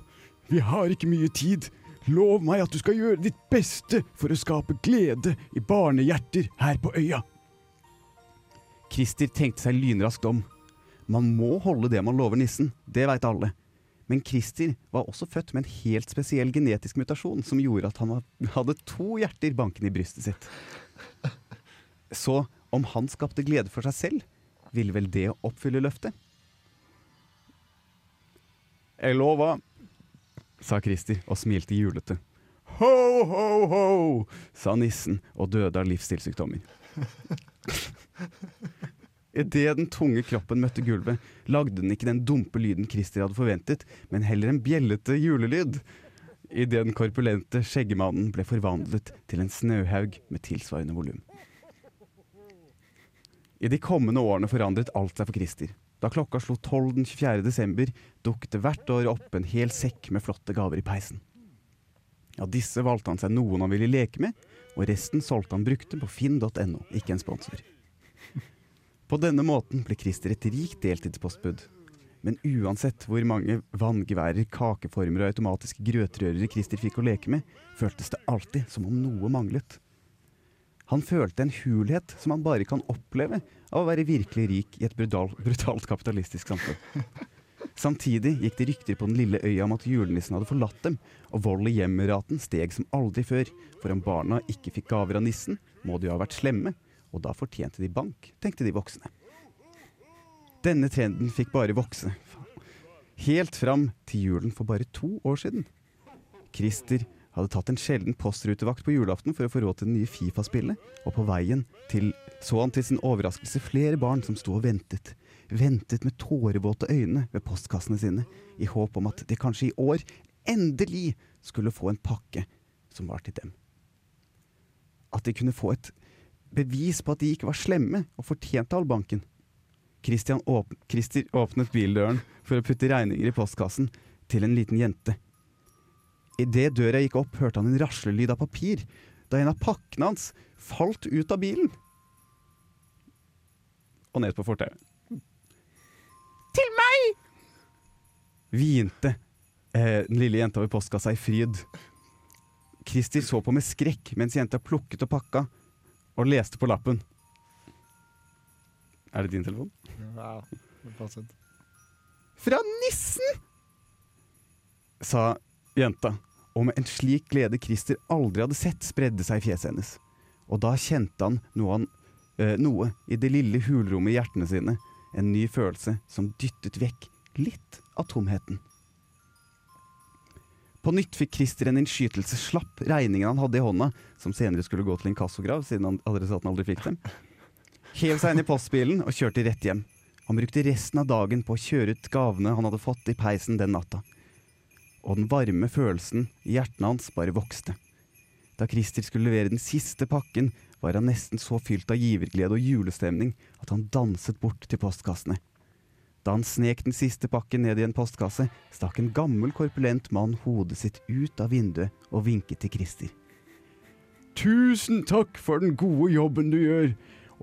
vi har ikke mye tid. Lov meg at du skal gjøre ditt beste for å skape glede i barnehjerter her på øya. Christer tenkte seg lynraskt om. Man må holde det man lover nissen, det veit alle. Men Christer var også født med en helt spesiell genetisk mutasjon som gjorde at han hadde to hjerter bankende i brystet sitt. Så om han skapte glede for seg selv, ville vel det oppfylle løftet? Jeg lover, sa Christer og smilte julete. Ho, ho, ho, sa nissen og døde av livsstilssykdommer. Idet den tunge kroppen møtte gulvet, lagde den ikke den dumpe lyden Christer hadde forventet, men heller en bjellete julelyd. Idet den korpulente skjeggemannen ble forvandlet til en snøhaug med tilsvarende volum. I de kommende årene forandret alt seg for Christer. Da klokka slo tolv den 24. desember, dukket det hvert år opp en hel sekk med flotte gaver i peisen. Av disse valgte han seg noen han ville leke med, og resten solgte han brukte på finn.no, ikke en sponsor. På denne måten ble Christer et rikt deltidspostbud. Men uansett hvor mange vanngeværer, kakeformer og automatiske grøtrørere Christer fikk å leke med, føltes det alltid som om noe manglet. Han følte en hulhet som han bare kan oppleve av å være virkelig rik i et brutal, brutalt kapitalistisk samfunn. Samtidig gikk det rykter på den lille øya om at julenissen hadde forlatt dem, og vold i hjemmeraten steg som aldri før, for om barna ikke fikk gaver av nissen, må de jo ha vært slemme, og da fortjente de bank, tenkte de voksne. Denne trenden fikk bare vokse. Helt fram til julen for bare to år siden. Christer hadde tatt en sjelden postrutevakt på julaften for å få råd til det nye Fifa-spillet, og på veien til så han til sin overraskelse flere barn som sto og ventet. Ventet med tårevåte øyne ved postkassene sine, i håp om at de kanskje i år endelig skulle få en pakke som var til dem. At de kunne få et bevis på at de ikke var slemme og fortjente all banken. Christian åp Christer åpnet bildøren for å putte regninger i postkassen til en liten jente. Idet døra gikk opp, hørte han en raslelyd av papir, da en av pakkene hans falt ut av bilen. Og ned på fortauet.
Til meg!
hvinte eh, den lille jenta ved postkassa i fryd. Christer så på med skrekk mens jenta plukket og pakka og leste på lappen. Er det din telefon?
Ja, det passer ikke.
Fra nissen! sa jenta, og med en slik glede Christer aldri hadde sett, spredde seg i fjeset hennes. Og da kjente han noe, han, eh, noe i det lille hulrommet i hjertene sine, en ny følelse som dyttet vekk litt av tomheten. På nytt fikk Christer en innskytelse, slapp regningen han hadde i hånda, som senere skulle gå til inkassograv, siden han adressaten aldri fikk dem. Hev seg inn i postbilen og kjørte rett hjem. Han brukte resten av dagen på å kjøre ut gavene han hadde fått i peisen den natta. Og den varme følelsen i hjertet hans bare vokste. Da Christer skulle levere den siste pakken, var han nesten så fylt av giverglede og julestemning at han danset bort til postkassene. Da han snek den siste pakken ned i en postkasse, stakk en gammel, korpulent mann hodet sitt ut av vinduet og vinket til Christer. Tusen takk for den gode jobben du gjør,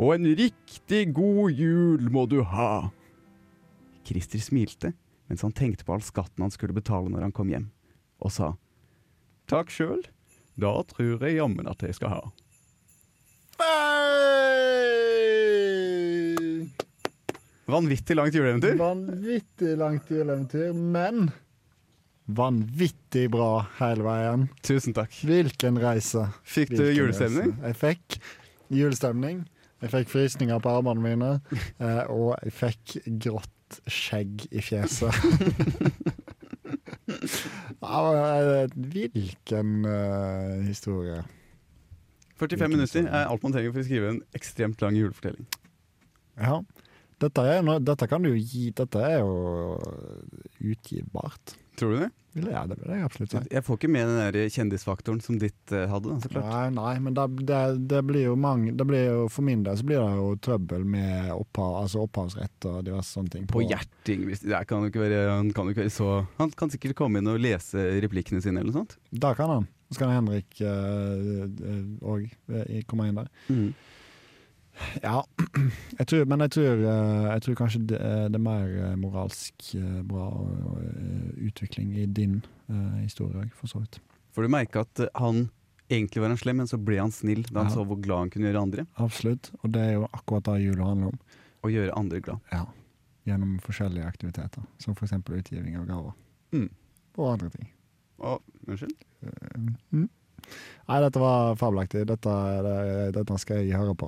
og en riktig god jul må du ha. Christer smilte mens han tenkte på all skatten han skulle betale når han kom hjem, og sa takk sjøl, da tror jeg jammen at jeg skal ha. Vanvittig langt juleeventyr.
Vanvittig langt juleeventyr, men vanvittig bra hele veien.
Tusen takk.
Hvilken reise.
Fikk du
Hvilken altså?
julestemning?
reise. Jeg fikk julestemning. Jeg fikk frysninger på armene mine, eh, og jeg fikk grått skjegg i fjeset. Ja, men, eh, Hvilken eh, historie.
45 minutter er alt man trenger for å skrive en ekstremt lang julefortelling.
Ja. Dette, er noe, dette kan du jo gi Dette er jo utgivbart.
Tror du det?
Vil jeg, det vil jeg absolutt si.
Jeg får ikke med den der kjendisfaktoren som ditt eh, hadde, da, så klart.
Nei, nei, men det, det, det blir jo mange det blir jo, For min del så blir det jo trøbbel med opphav, altså opphavsrett og diverse sånne ting.
På hjerting. hvis- Det kan jo ikke være, han kan jo ikke være så Han kan sikkert komme inn og lese replikkene sine eller noe sånt.
Da kan han. Så kan Henrik eh, òg eh, komme inn der. Ja, jeg tror, men jeg tror, eh, jeg tror kanskje det, er- det er mer eh, moralsk eh, bra og, og, eh, utvikling i din eh, historie òg, for så vidt.
For du merka at eh, han egentlig var han slem, men så ble han snill da han
Ja.
så hvor glad han kunne gjøre andre.
Absolutt. Og det er jo akkurat det jula handler om.
Og gjøre andre glad.
Ja. Gjennom forskjellige aktiviteter, som f.eks. utgiving av gaver.
Mm.
Og andre ting.
Å, unnskyld?
Mm. Nei, dette var fabelaktig. Dette, det, dette skal jeg høre på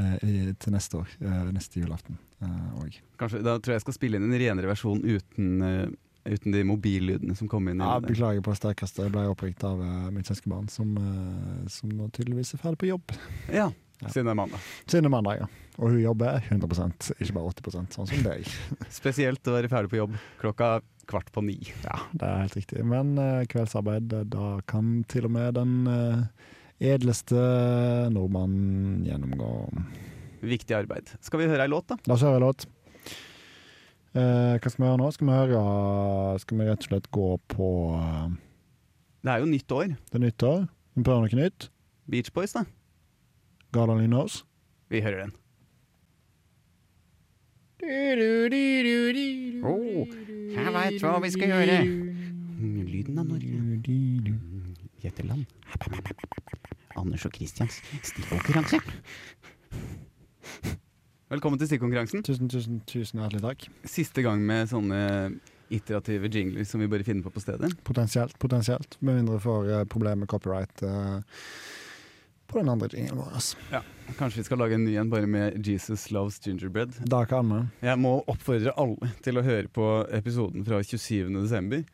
eh, i, til neste år. eh, neste julaften eh, òg.
Kanskje, da tror jeg jeg skal spille inn en renere versjon uten, eh, uten de mobillydene som kom inn. i
ja,
det.
beklager på det sterkeste. Jeg ble oppringt av eh, mitt søskenbarn, som, eh, som nå tydeligvis er ferdig på jobb.
ja,
Ja.
siden det er mandag.
Siden det er mandag, ja. Og hun jobber 100 ikke bare 80 sånn som deg.
Spesielt å være ferdig på jobb klokka kvart på ni.
Ja, det er helt riktig. Men eh, kveldsarbeid, eh, da kan til og med den eh, edleste nordmannen gjennomgå.
Viktig arbeid. Skal vi høre ei låt, da?
La oss høre en låt. Eh, hva skal vi høre nå? Skal vi høre Skal vi rett og slett gå på eh,
Det er jo nytt år.
det nyttår? Vi prøver noe nytt?
Beach Boys, da.
God only knows.
Vi hører den.
Oh, jeg veit hva vi skal gjøre.
Lyden av Norge. Gjetteland. Anders og Kristians stikkonkurranse. Velkommen til stikkonkurransen.
Tusen, tusen, tusen hjertelig takk.
Siste gang med sånne iterative jingler som vi bare finner på på stedet.
Potensielt, potensielt. Med mindre vi får eh, problemer med copyright eh, på den andre jinglen vår. altså. ass.
Kanskje vi skal lage en ny en bare med Jesus loves gingerbread.
Da kan vi.
Jeg må oppfordre alle til å høre på episoden fra 27. desember,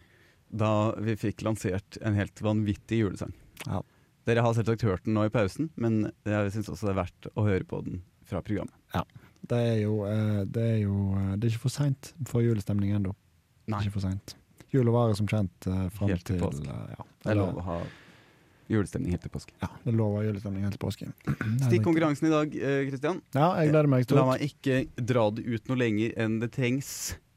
da vi fikk lansert en helt vanvittig julesang.
Ja.
Dere har selvsagt hørt den nå i pausen, men jeg syns også det er verdt å høre på den fra programmet.
Det er jo, eh, det er jo eh, Det er ikke for seint for julestemning ennå. Det er
Nei.
Ikke for sent. Jula varer som kjent eh, fram
Helt til
til,
påske.
eh, ja.
Det er lov å ha julestemning helt til påske.
Ja, det er lov å ha julestemning helt til påske.
Stikk konkurransen i dag, eh, Kristian.
Ja, jeg gleder meg
La
stort.
meg ikke dra det ut noe lenger enn det trengs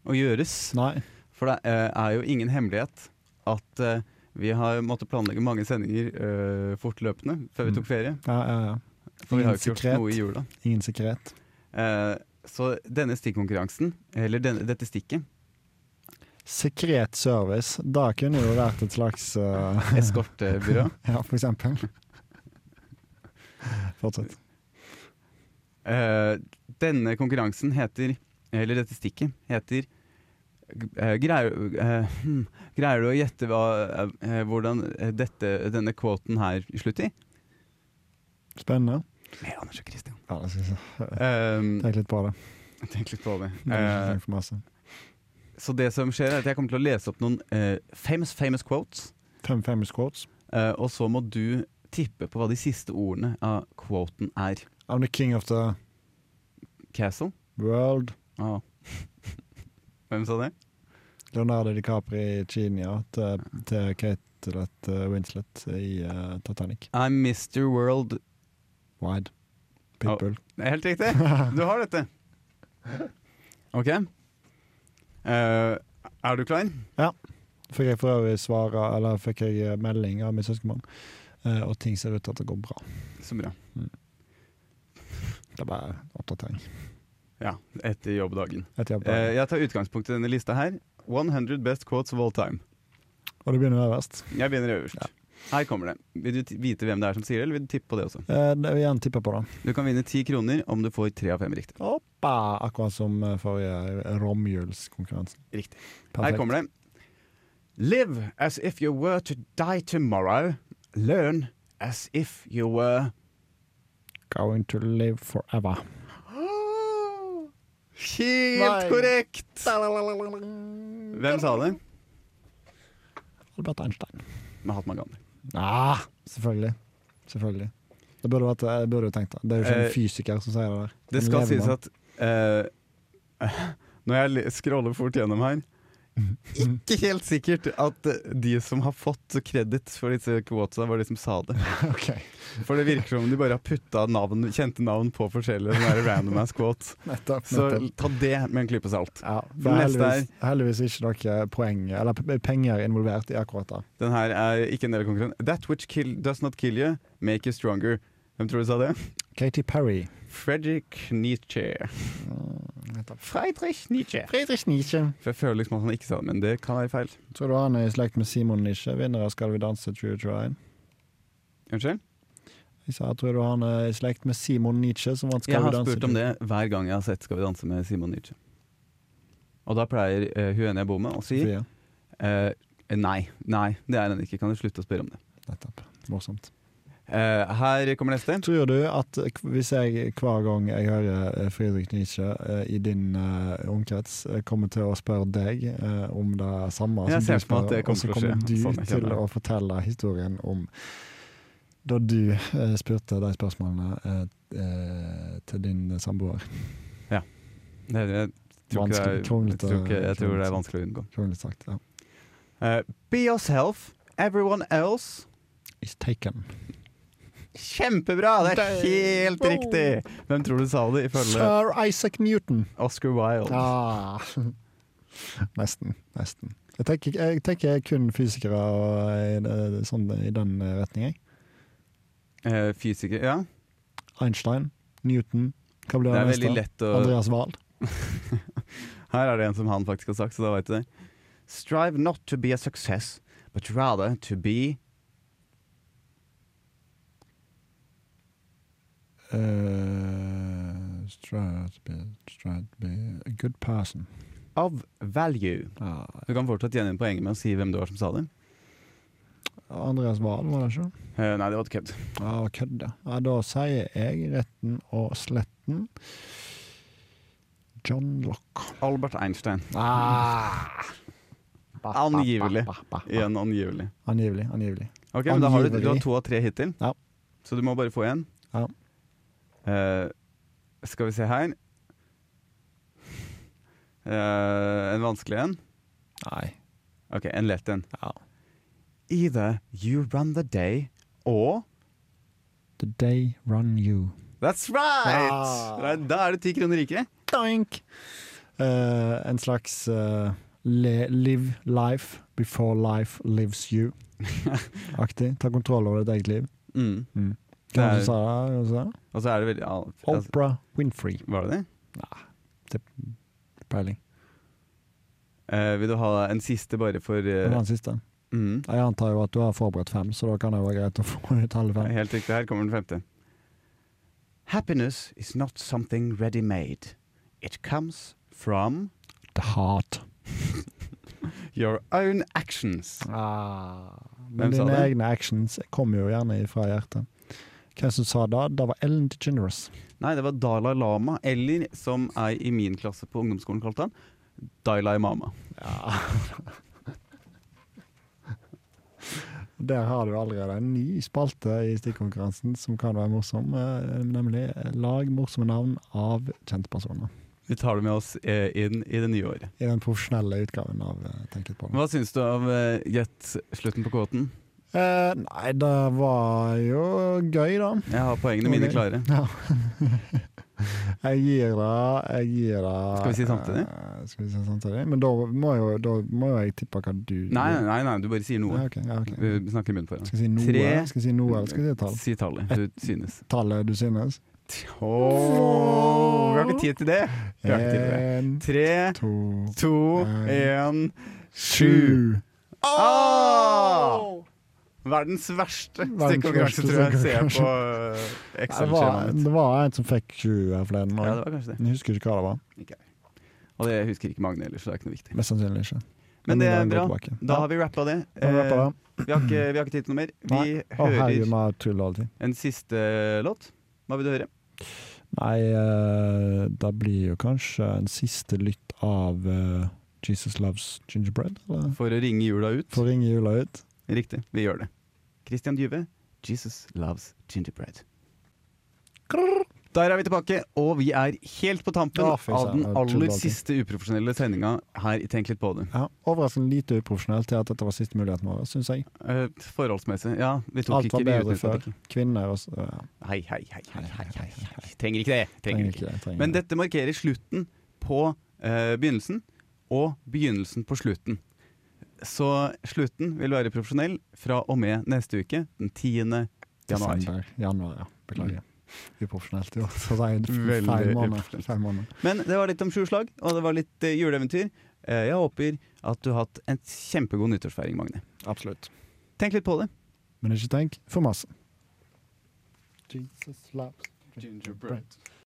å gjøres.
Nei.
For det eh, er jo ingen hemmelighet at eh, vi har måttet planlegge mange sendinger eh, fortløpende før vi tok ferie.
Ja, ja, ja.
For vi har jo ikke
Mm. Ingen
gjort noe i jula.
Ingen sekret.
Eh, så denne stikkonkurransen, eller denne, dette stikket,
Sekret service. Da kunne det jo vært et slags eh,
eskortebyrå
Ja, for eksempel. Fortsett.
eh, Denne konkurransen heter, eller dette stikket, heter eh, greier, eh, hmm, greier du å gjette hva, eh, hvordan dette, denne kvoten her slutter i?
Spennende.
Med Anders og Kristian.
Ja, det skal jeg si.
Eh,
Tenk litt på det.
tenk litt på det.
Det er
Eh,
ikke for masse.
så det som skjer, er at jeg kommer til å lese opp noen eh, famous, famous quotes,
Fem famous quotes.
eh, og så må du tippe på hva de siste ordene av quoten er.
I'm the king of the
Castle?
world.
Ja. Hvem sa det?
Leonardo DiCaprio i Kina til, til Katelet Winslet i eh, Titanic.
I'm Mr. World.
Wide. Pitbull.
Det er Helt riktig! Du har dette. OK. Eh, er du klar?
Fikk jeg for øvrig svare, eller fikk jeg eh, melding av min søskenbarn, eh, og ting ser ut til at det går bra.
Så bra.
Det er bare oppdatering.
Ja, etter jobbdagen.
Et jobb.
Eh, jeg tar utgangspunkt i denne lista her. 100 best quotes of all time.
og det begynner øverst.
Jeg begynner øverst. Her kommer det. Vil du t- vite hvem det er som sier det, eller vil du tippe på det også?
Eh, det vil jeg gjerne tippe på det.
Du kan vinne ti kroner om du får tre av fem riktig.
Hoppa! Akkurat som eh, forrige romjulskonkurransen.
Riktig.
Perfekt.
Her kommer det. Live as if you were to die tomorrow. Learn as if you were
Going to live forever.
Helt
Nei.
korrekt! Hvem sa det?
Albert Einstein.
Mahatma Gandhi.
Ah, selvfølgelig. Selvfølgelig. Det burde vært, eh, jeg burde jo tenkt det. Det er jo ikke
Eh,
en fysiker som sier det der.
Det
En
skal sies
levemann.
at eh, Når jeg le- scroller fort gjennom her Ikke helt sikkert at eh, de som har fått kreditt for disse quotesa, var de som sa det.
Ok,
For det virker som om de bare har putta navn, kjente navn på forskjellige sånne her random ass quotes.
nettopp.
Så
nettopp.
ta det med en klype salt.
Ja, det
for
er
neste
heldigvis, heldigvis ikke noe poeng eller p- penger involvert i akkurat det.
Den her er ikke en del av konkurransen. That which kill, does not kill you, make you stronger. Hvem tror du sa det?
Katy Perry. Mm,
Fredrik Nietzsche. Friedrich Nietzsche.
Friedrich Nietzsche.
For jeg føler liksom at han ikke sa det, men det kan være feil.
Tror du han er i slekt med Simon Nietzsche, vinner av Skal vi danse 2021?
Unnskyld?
Jeg sa, tror du han er i slekt med Simon Nietzsche, som vant Skal
Jeg
vi
har
danse?
spurt om det hver gang jeg har sett Skal vi danse med Simon Nietzsche. Og da pleier eh, hun ene jeg bor med å si
2024?
eh, nei, nei, det er han ikke. Kan du slutte å spørre om det?
Nettopp. Morsomt.
Eh, her kommer neste.
Tror du at k- hvis jeg hver gang jeg hører eh, Friedrich Nietzsche eh, i din eh, omkrets, eh, kommer til å spørre deg eh, om det samme
Jeg ser
du
for meg at det
spør,
kommer
og så
til å skje,
du
sånn jeg
til
kjenner det.
å fortelle historien om da du eh, spurte de spørsmålene eh, eh, til din samboer.
Det, jeg, tror ikke det er,
Vanskelig, eh, kronglete-
jeg, tror ikke, jeg tror det er
kronglete.
vanskelig å unngå.
Kronlig sagt. Ja.
Eh, be yourself. Everyone else
Is taken.
Kjempebra! Det er helt
Wow.
riktig! Hvem tror du sa det, ifølge
Sir Isaac Newton.
Oscar Wilde?
Ah. Nesten. Nesten. Jeg tenker, eh, jeg tenker kun fysikere og, eh, sånn, i den retning, jeg.
Eh, fysiker, ja.
Einstein, Newton, hva
Det
blir det,
er veldig
neste?
lett å
Andreas Wahl.
Her er det en som han faktisk har sagt, så da veit du det. Strive not to be a success, but rather to be
Uh, try to be, try to be a good person.
of value.
Ah,
Du kan fortsatt gjøre inn poenget med å si hvem det var som sa det.
Andreas Wahl, var det ikke?
Eh, nei, det var et kødd.
Ja, ah, kødda. Ja, da sier jeg retten og sletten. John Locke.
Albert Einstein.
Ba, ba,
Ah. Angivelig.
ba, ba, ba.
Igjen angivelig.
Angivelig. Angivelig.
Ok, men da har du,
Angivelig.
du har to av tre hittil,
Ja.
så du må bare få én.
Ja.
Eh, skal vi se her Eh, En vanskelig en.
Nei.
Ok, en lett en.
Ja.
Either you run the day or
The day run you.
That's right!
Ah.
Nei, Da er du ti kroner rikere.
Doink! Eh, en slags eh, le, live life before life lives you-aktig. Ta kontroll over ditt eget liv.
Mm.
Mm.
Det
Hvem var
er-
det som sa det? Hvem sa det?
Og så er det veldig ja, altså,
Oprah Winfrey.
Var det det?
Peiling.
Eh, vil du ha en siste bare for eh,
Hvem var den siste?
mm.
Jeg antar jo at du har forberedt fem, så da kan det jo være greit å få ut alle fem.
Helt riktig. Her kommer den femte. Happiness is not something ready made. It comes from
The heart.
your own actions. Ah. Hvem
Men
sa
dine
det?
egne actions kommer jo gjerne fra hjertet. Hvem som sa det? Det var Ellen DeGeneres.
Nei, det var Dalai Lama, eller som ei i min klasse på ungdomsskolen kalte han, Dalai Mama.
Der har du allerede en ny spalte i stikkonkurransen som kan være morsom, eh, nemlig eh, Lag morsomme navn av kjente personer.
Vi tar det med oss eh, inn i det nye året.
I den profesjonelle utgaven av eh, Tenk litt på det.
Hva syns du av eh, Gjett slutten på kåten?
Eh, nei, det var jo gøy, da.
Jeg har poengene mine
Ok.
klare.
Ja. jeg gir det Jeg gir det
Skal vi si samtidig?
eh, skal vi si samtidig? Men da må jo, da må jo jeg tippe hva du
Nei, nei, nei, du bare sier noe.
Ja, ok, ja, ok.
Vi snakker i munnen på hverandre.
Skal jeg si noe,
Tre.
skal jeg si noe eller skal jeg si et tall?
Si tallet du synes.
Tallet du synes?
Åh, vi har ikke tid til det! Vi har ikke tid til det.
En,
Tre,
to
to, én Sju. Åh! Verdens verste
Verdens
stikkonkurranse,
verste
tror jeg. Ser jeg på eh,
Det var,
Excel-skjemaet mitt.
det var en som fikk sju her forleden.
Ja, det
også.
var kanskje det.
Jeg husker ikke hva det var.
Og det husker ikke Magne heller, så det er ikke noe viktig.
Mest sannsynlig ikke.
Men det
den
er
går
bra.
tilbake.
Da
Ja,
har vi rappa det.
nå er vi på
Eh,
det.
vi, har ikke, vi har ikke tid til noe mer. Vi
Nei. Å, herregud,
eh, hører
vi har tull alltid.
en siste låt. Hva vil du høre?
Nei, eh, da blir jo kanskje en siste lytt av eh, Jesus Loves Gingerbread, eller?
For å ringe jula ut?
Får ringe jula ut.
Riktig, vi gjør det. Christian Dyve, 'Jesus Loves Gingerbread'. Der er vi tilbake, og vi er helt på tampen
Ja, fy
av den
søren, jeg trodde
aller
alltid.
siste uprofesjonelle sendinga her i Tenk litt på det.
Ja, overraskende lite uprofesjonelt til at dette var siste muligheten vår, syns jeg.
Eh, forholdsmessig. Ja, vi tok
Alt
ikke vi
var bedre
utnyttet
før.
ikke.
Kvinner og s- ja,
Hei, hei, hei, hei, hei, hei, hei. Trenger ikke det. Trenger
trenger
ikke.
ikke det. Trenger
Men
ikke det.
dette markerer slutten på eh, begynnelsen, og begynnelsen på slutten. Så slutten vil være profesjonell fra og med neste uke, den 10. januar. Mm.
Desember, januar, ja. Beklager. Uprofesjonelt i år. Så det er
Veldig
feil måned.
uprofesjonelt.
Feil måned.
Men det var litt om sju slag, og det var litt eh, juleeventyr. Eh, jeg håper at du har hatt en kjempegod nyttårsfeiring, Magne.
Absolutt.
Tenk litt på det.
Men ikke tenk for masse. Jesus loves gingerbread.